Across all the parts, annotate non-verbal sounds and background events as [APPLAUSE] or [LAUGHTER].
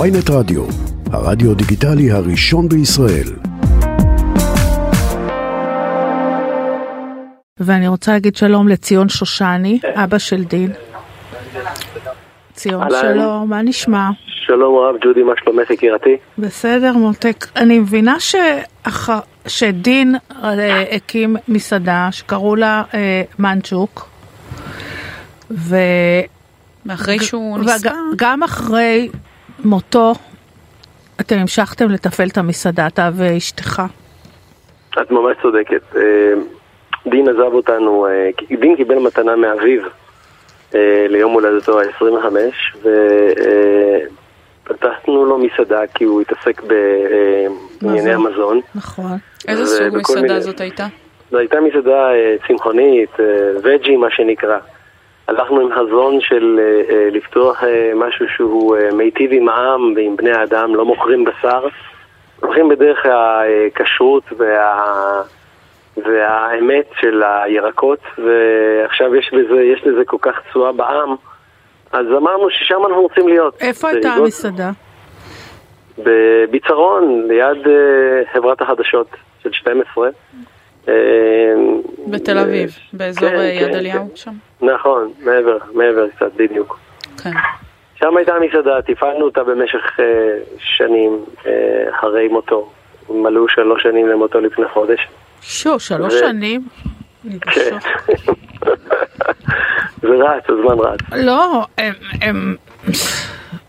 ויינט רדיו, הרדיו דיגיטלי הראשון בישראל. ואני רוצה להגיד שלום לציון שושני, אבא של דין. ציון, אהלן. שלום, מה נשמע? שלום רב, ג'ודי, מה שלומך יקירתי? בסדר, מותק. אני מבינה שאח... שדין אה, הקים מסעדה שקראו לה אה, מנצ'וק, ו... ואחרי שהוא נסע, וגם אחרי מותו, אתם המשכתם לתפעל את המסעדה, אתה ואשתך. את ממש צודקת. אה, דין עזב אותנו, אה, דין קיבל מתנה מאביו אה, ליום הולדתו ה-25, ופתחנו אה, לו מסעדה כי הוא התעסק אה, בענייני מזון. המזון. נכון. איזה זה סוג בכל מסעדה מיני- זאת הייתה? זו הייתה מסעדה אה, צמחונית, אה, וג'י מה שנקרא. הלכנו עם חזון של אה, אה, לפתוח אה, משהו שהוא אה, מיטיב עם העם ועם בני האדם, לא מוכרים בשר. הולכים בדרך הכשרות וה... והאמת של הירקות, ועכשיו יש לזה, יש לזה כל כך תשואה בעם, אז אמרנו ששם אנחנו רוצים להיות. איפה הייתה בעידות- המסעדה? בביצרון, ליד אה, חברת החדשות של 12. אה, בתל אה, אביב, באזור כן, אה, יד כן, אליהו שם? נכון, מעבר, מעבר קצת, בדיוק. כן. שם הייתה המסעדה, תפעלנו אותה במשך אה, שנים אה, אחרי מותו. מלאו שלוש שנים למותו לפני חודש. שו, שלוש זה- שנים. לא כן. זה רץ, הזמן רץ. לא, הם, הם,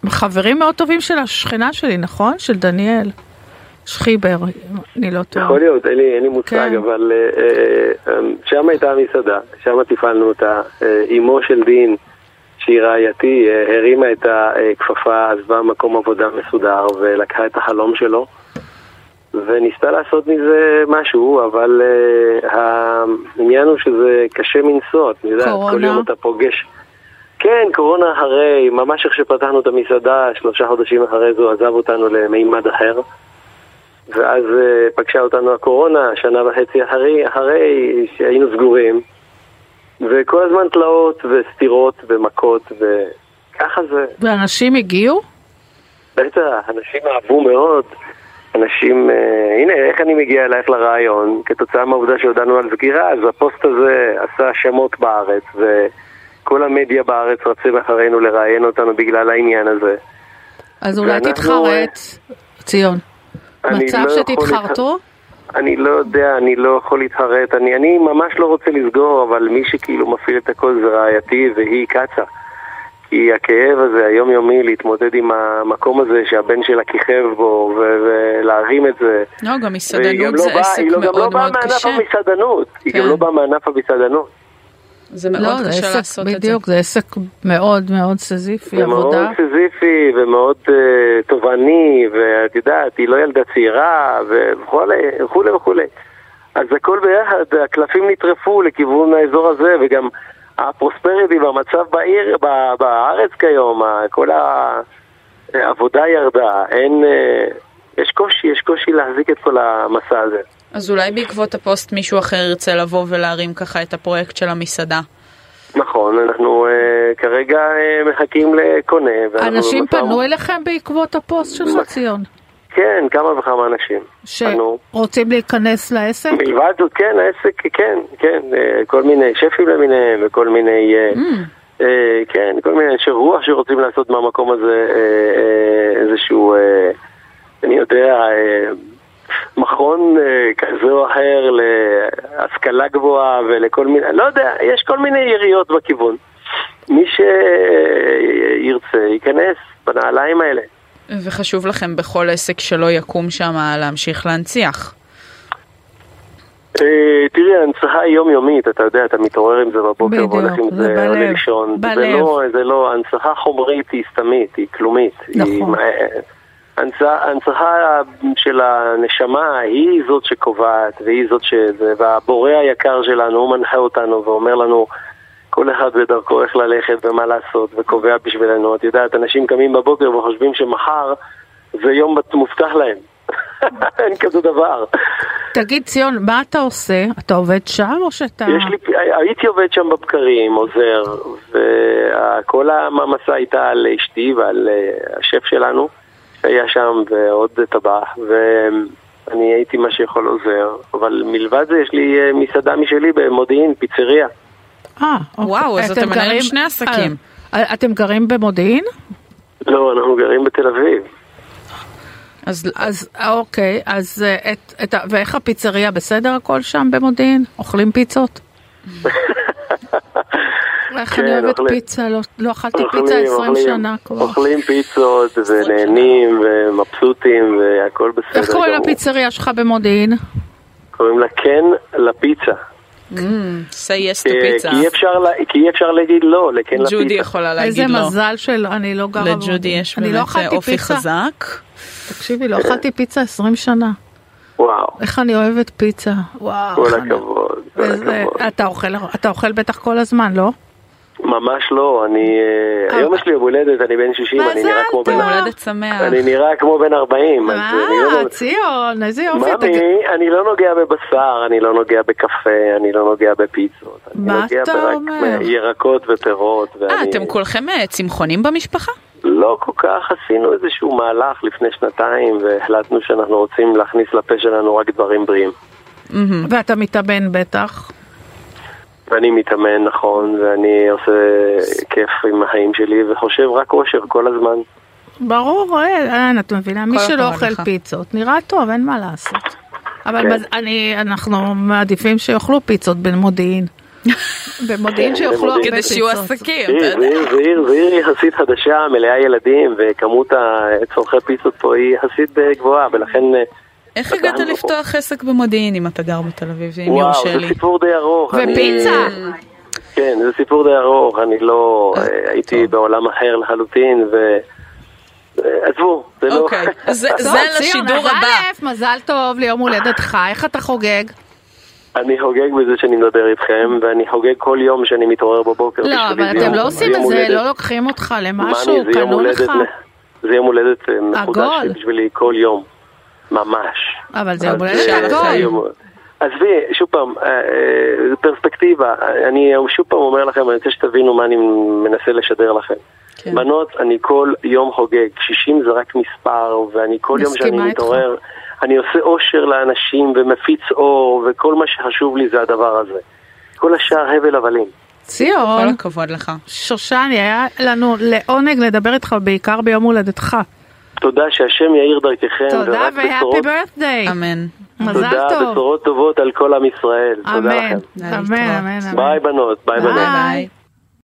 הם חברים מאוד טובים של השכנה שלי, נכון? של דניאל. שחיבר, אני לא טועה. יכול להיות, אין לי, אין לי מושג, כן. אבל אה, אה, אה, שם הייתה המסעדה, שם תפעלנו אותה. אה, אמו של דין, שהיא רעייתי, אה, הרימה את הכפפה, עזבה מקום עבודה מסודר ולקחה את החלום שלו, וניסתה לעשות מזה משהו, אבל אה, העניין הוא שזה קשה מנשוא, את יודעת, כל קורונה. יום אתה פוגש... כן, קורונה אחרי, ממש איך שפתחנו את המסעדה, שלושה חודשים אחרי זה הוא עזב אותנו למימד אחר. ואז אה, פגשה אותנו הקורונה, שנה וחצי אחרי, אחרי שהיינו סגורים, וכל הזמן תלאות וסתירות ומכות, וככה זה. ואנשים הגיעו? בטח, אנשים אהבו מאוד. אנשים, אה, הנה, איך אני מגיע אלייך לרעיון? כתוצאה מהעובדה שהודענו על סגירה, אז הפוסט הזה עשה שמות בארץ, וכל המדיה בארץ רצים אחרינו לראיין אותנו בגלל העניין הזה. אז אולי ואנחנו, אה, תתחרט, ציון. אני מצב לא יכול שתתחרטו? אני לא יודע, אני לא יכול להתחרט. אני, אני ממש לא רוצה לסגור, אבל מי שכאילו מפעיל את הכל זה רעייתי והיא קצה. כי הכאב הזה, היומיומי, להתמודד עם המקום הזה שהבן שלה כיכב בו, ו- ולהרים את זה. לא, גם והיא גם מסעדנות לא זה באה- עסק היא לא- גם לא מאוד באה מאוד מענף קשה. המסעדנות. היא גם כן. לא באה מענף המסעדנות. זה לא, מאוד זה קשה עסק, לעשות את זה. בדיוק, זה עסק מאוד מאוד סזיפי, זה מאוד עבודה. סיזיפי ומאוד uh, תובעני, ואת יודעת, היא לא ילדה צעירה, וכולי וכולי וכולי. אז הכל ביחד, הקלפים נטרפו לכיוון האזור הזה, וגם הפרוספריטי והמצב בעיר, ב- בארץ כיום, ה- כל העבודה ירדה, אין... אה, יש קושי, יש קושי להחזיק את כל המסע הזה. אז אולי בעקבות הפוסט מישהו אחר ירצה לבוא ולהרים ככה את הפרויקט של המסעדה. נכון, אנחנו אה, כרגע אה, מחכים לקונה. ואנחנו אנשים במשא- פנו אליכם בעקבות הפוסט שלך, ציון, כן, כמה וכמה אנשים. נכון. פנו. שרוצים להיכנס לעסק? מלבד זאת, כן, העסק, כן, כן, אה, כל מיני שפים למיניהם וכל מיני, אה, אה, כן, כל מיני אנשי רוח שרוצים לעשות מהמקום הזה אה, אה, איזשהו, אה, אני יודע, אה, מכון אה, כזה או אחר להשכלה גבוהה ולכל מיני, לא יודע, יש כל מיני יריות בכיוון. מי שירצה ייכנס בנעליים האלה. וחשוב לכם בכל עסק שלא יקום שם להמשיך להנציח. אה, תראי, ההנצחה היא יומיומית, אתה יודע, אתה מתעורר עם זה בבוקר בדיוק, והולך עם זה זה, בלב, עולה לישון. זה בלב. לא, זה לא, הנצחה חומרית היא סתמית, היא כלומית. היא- נכון. אה, הנצ- ההנצחה של הנשמה היא זאת שקובעת, והיא זאת ש... והבורא היקר שלנו, הוא מנחה אותנו ואומר לנו כל אחד בדרכו איך ללכת ומה לעשות, וקובע בשבילנו. את יודעת, אנשים קמים בבוקר וחושבים שמחר זה יום מובטח להם. [LAUGHS] אין כזה דבר. תגיד, ציון, מה אתה עושה? אתה עובד שם או שאתה... יש לי, הייתי עובד שם בבקרים, עוזר, וכל המעמסה הייתה על אשתי ועל אה, השף שלנו, שהיה שם ועוד טבח, ואני הייתי מה שיכול עוזר, אבל מלבד זה יש לי אה, מסעדה משלי במודיעין, פיצריה. אה, אוקיי. וואו, אז אתה מנהל גרים- שני עסקים. אה, אתם גרים במודיעין? לא, אנחנו גרים בתל אביב. אז אז אה, אוקיי, אז אה, את, את, ה- ואיך הפיצריה בסדר הכל שם במודיעין? אוכלים [LAUGHS] פיצות? איך אני כן, אוהבת אוכלים. פיצה, לא, לא אכלתי פיצה 20 שנה כבר. אוכלים פיצות ונהנים ומבסוטים והכל בסדר איך קוראים גמור. לפיצריה שלך במודיעין? קוראים לה כן לפיצה. Mm, say yes to כי pizza. אה, כי אי אפשר לה- כי אי אפשר להגיד לא לכן לפיצה. ג'ודי יכולה איזה להגיד לא. מזל שלא, אני לא גרה לג'ודי במודיעין. יש אני לא באמת אה, אכלתי אופי פיצה. חזק. תקשיבי, לא אכלתי פיצה 20 שנה. וואו, איך אני אוהבת פיצה. וואו. כל איך אני- הכבוד, כל איזה- הכבוד. אתה אוכל, אתה אוכל בטח כל הזמן, לא? ממש לא, אני... אה, אה. היום יש לי יום הולדת, אני בן 60, אני נראה מזל כמו בן... טוב. יום הולדת שמח. אני נראה כמו בן 40, אז אני לא... אה, ציון, איזה יופי. אתה- ממי, אני לא נוגע בבשר, אני לא נוגע בקפה, אני לא נוגע בפיצות. אני מה נוגע אתה ברק- אומר? ירקות ופירות. אה, ואני- אתם כולכם אה, צמחונים במשפחה? לא כל כך עשינו איזשהו מהלך לפני שנתיים, והחלטנו שאנחנו רוצים להכניס לפה שלנו רק דברים בריאים. Mm-hmm. ואתה מתאבן בטח. ואני מתאמן, נכון, ואני עושה כיף עם החיים שלי, וחושב רק אושר כל הזמן. ברור, אין, את מבינה, מי כל הכבוד שלא אוכל לך. פיצות, נראה טוב, אין מה לעשות. אבל כן. מז- אני, אנחנו מעדיפים שיאכלו פיצות במודיעין. [LAUGHS] במודיעין כן, שיאכלו הרבה במודיעין. כדי פיצות. שיהיו כן, עסקים, אתה זו יודע. עיר- זו עיר- זו עיר יחסית חדשה, מלאה ילדים, וכמות הצורכי פיצות פה היא יחסית אה, גבוהה, ולכן... אה, איך הגעת אנחנו- לפתוח עסק במודיעין אם אתה גר בתל אביב, אם וואו, יורשה לי? זה סיפור די ארוך. אני- ופיצה. כן, זה סיפור די ארוך, אני לא... אז- אה, הייתי בעולם אחר לחלוטין, ו... אה, עזבו, זה לא... אוקיי, זה טוב, זה ציון, לשידור אז הבא. א', מזל טוב ליום הולדתך, איך אתה חוגג? [LAUGHS] אני חוגג בזה שאני מדבר איתכם, ואני חוגג כל יום שאני מתעורר בבוקר. לא, בשבילי אבל זה יום- אתם לא זה עושים יום את זה, הולדת. לא לוקחים אותך מאמי, למשהו, זה יום קנו הולדת לך. מ- זה יום הולדת אה, מחודש עגול. בשבילי כל יום, ממש. אבל זה יום אז, הולדת אה, עגול. גדול. היום- עזבי, שוב פעם, אה, אה, פרספקטיבה, אה, אני שוב פעם אומר לכם, אני רוצה שתבינו מה אני מנסה לשדר לכם. כן. בנות, אני כל יום חוגג, 60 זה רק מספר, ואני כל יום מסכימה שאני איתך. מתעורר, אני עושה אושר לאנשים ומפיץ אור, וכל מה שחשוב לי זה הדבר הזה. כל השאר הבל הבלים. כל ציון, הכבוד לך. שושני, היה לנו לעונג לדבר איתך בעיקר ביום הולדתך. תודה שהשם יאיר דרככם, תודה ורק והפי בשורות- בירת'דיי. אמן. מזל תודה, טוב. בשורות טובות על כל עם ישראל. תודה אמן, לכם. אמן, אמן, אמן. ביי בנות, ביי בנות. ביי.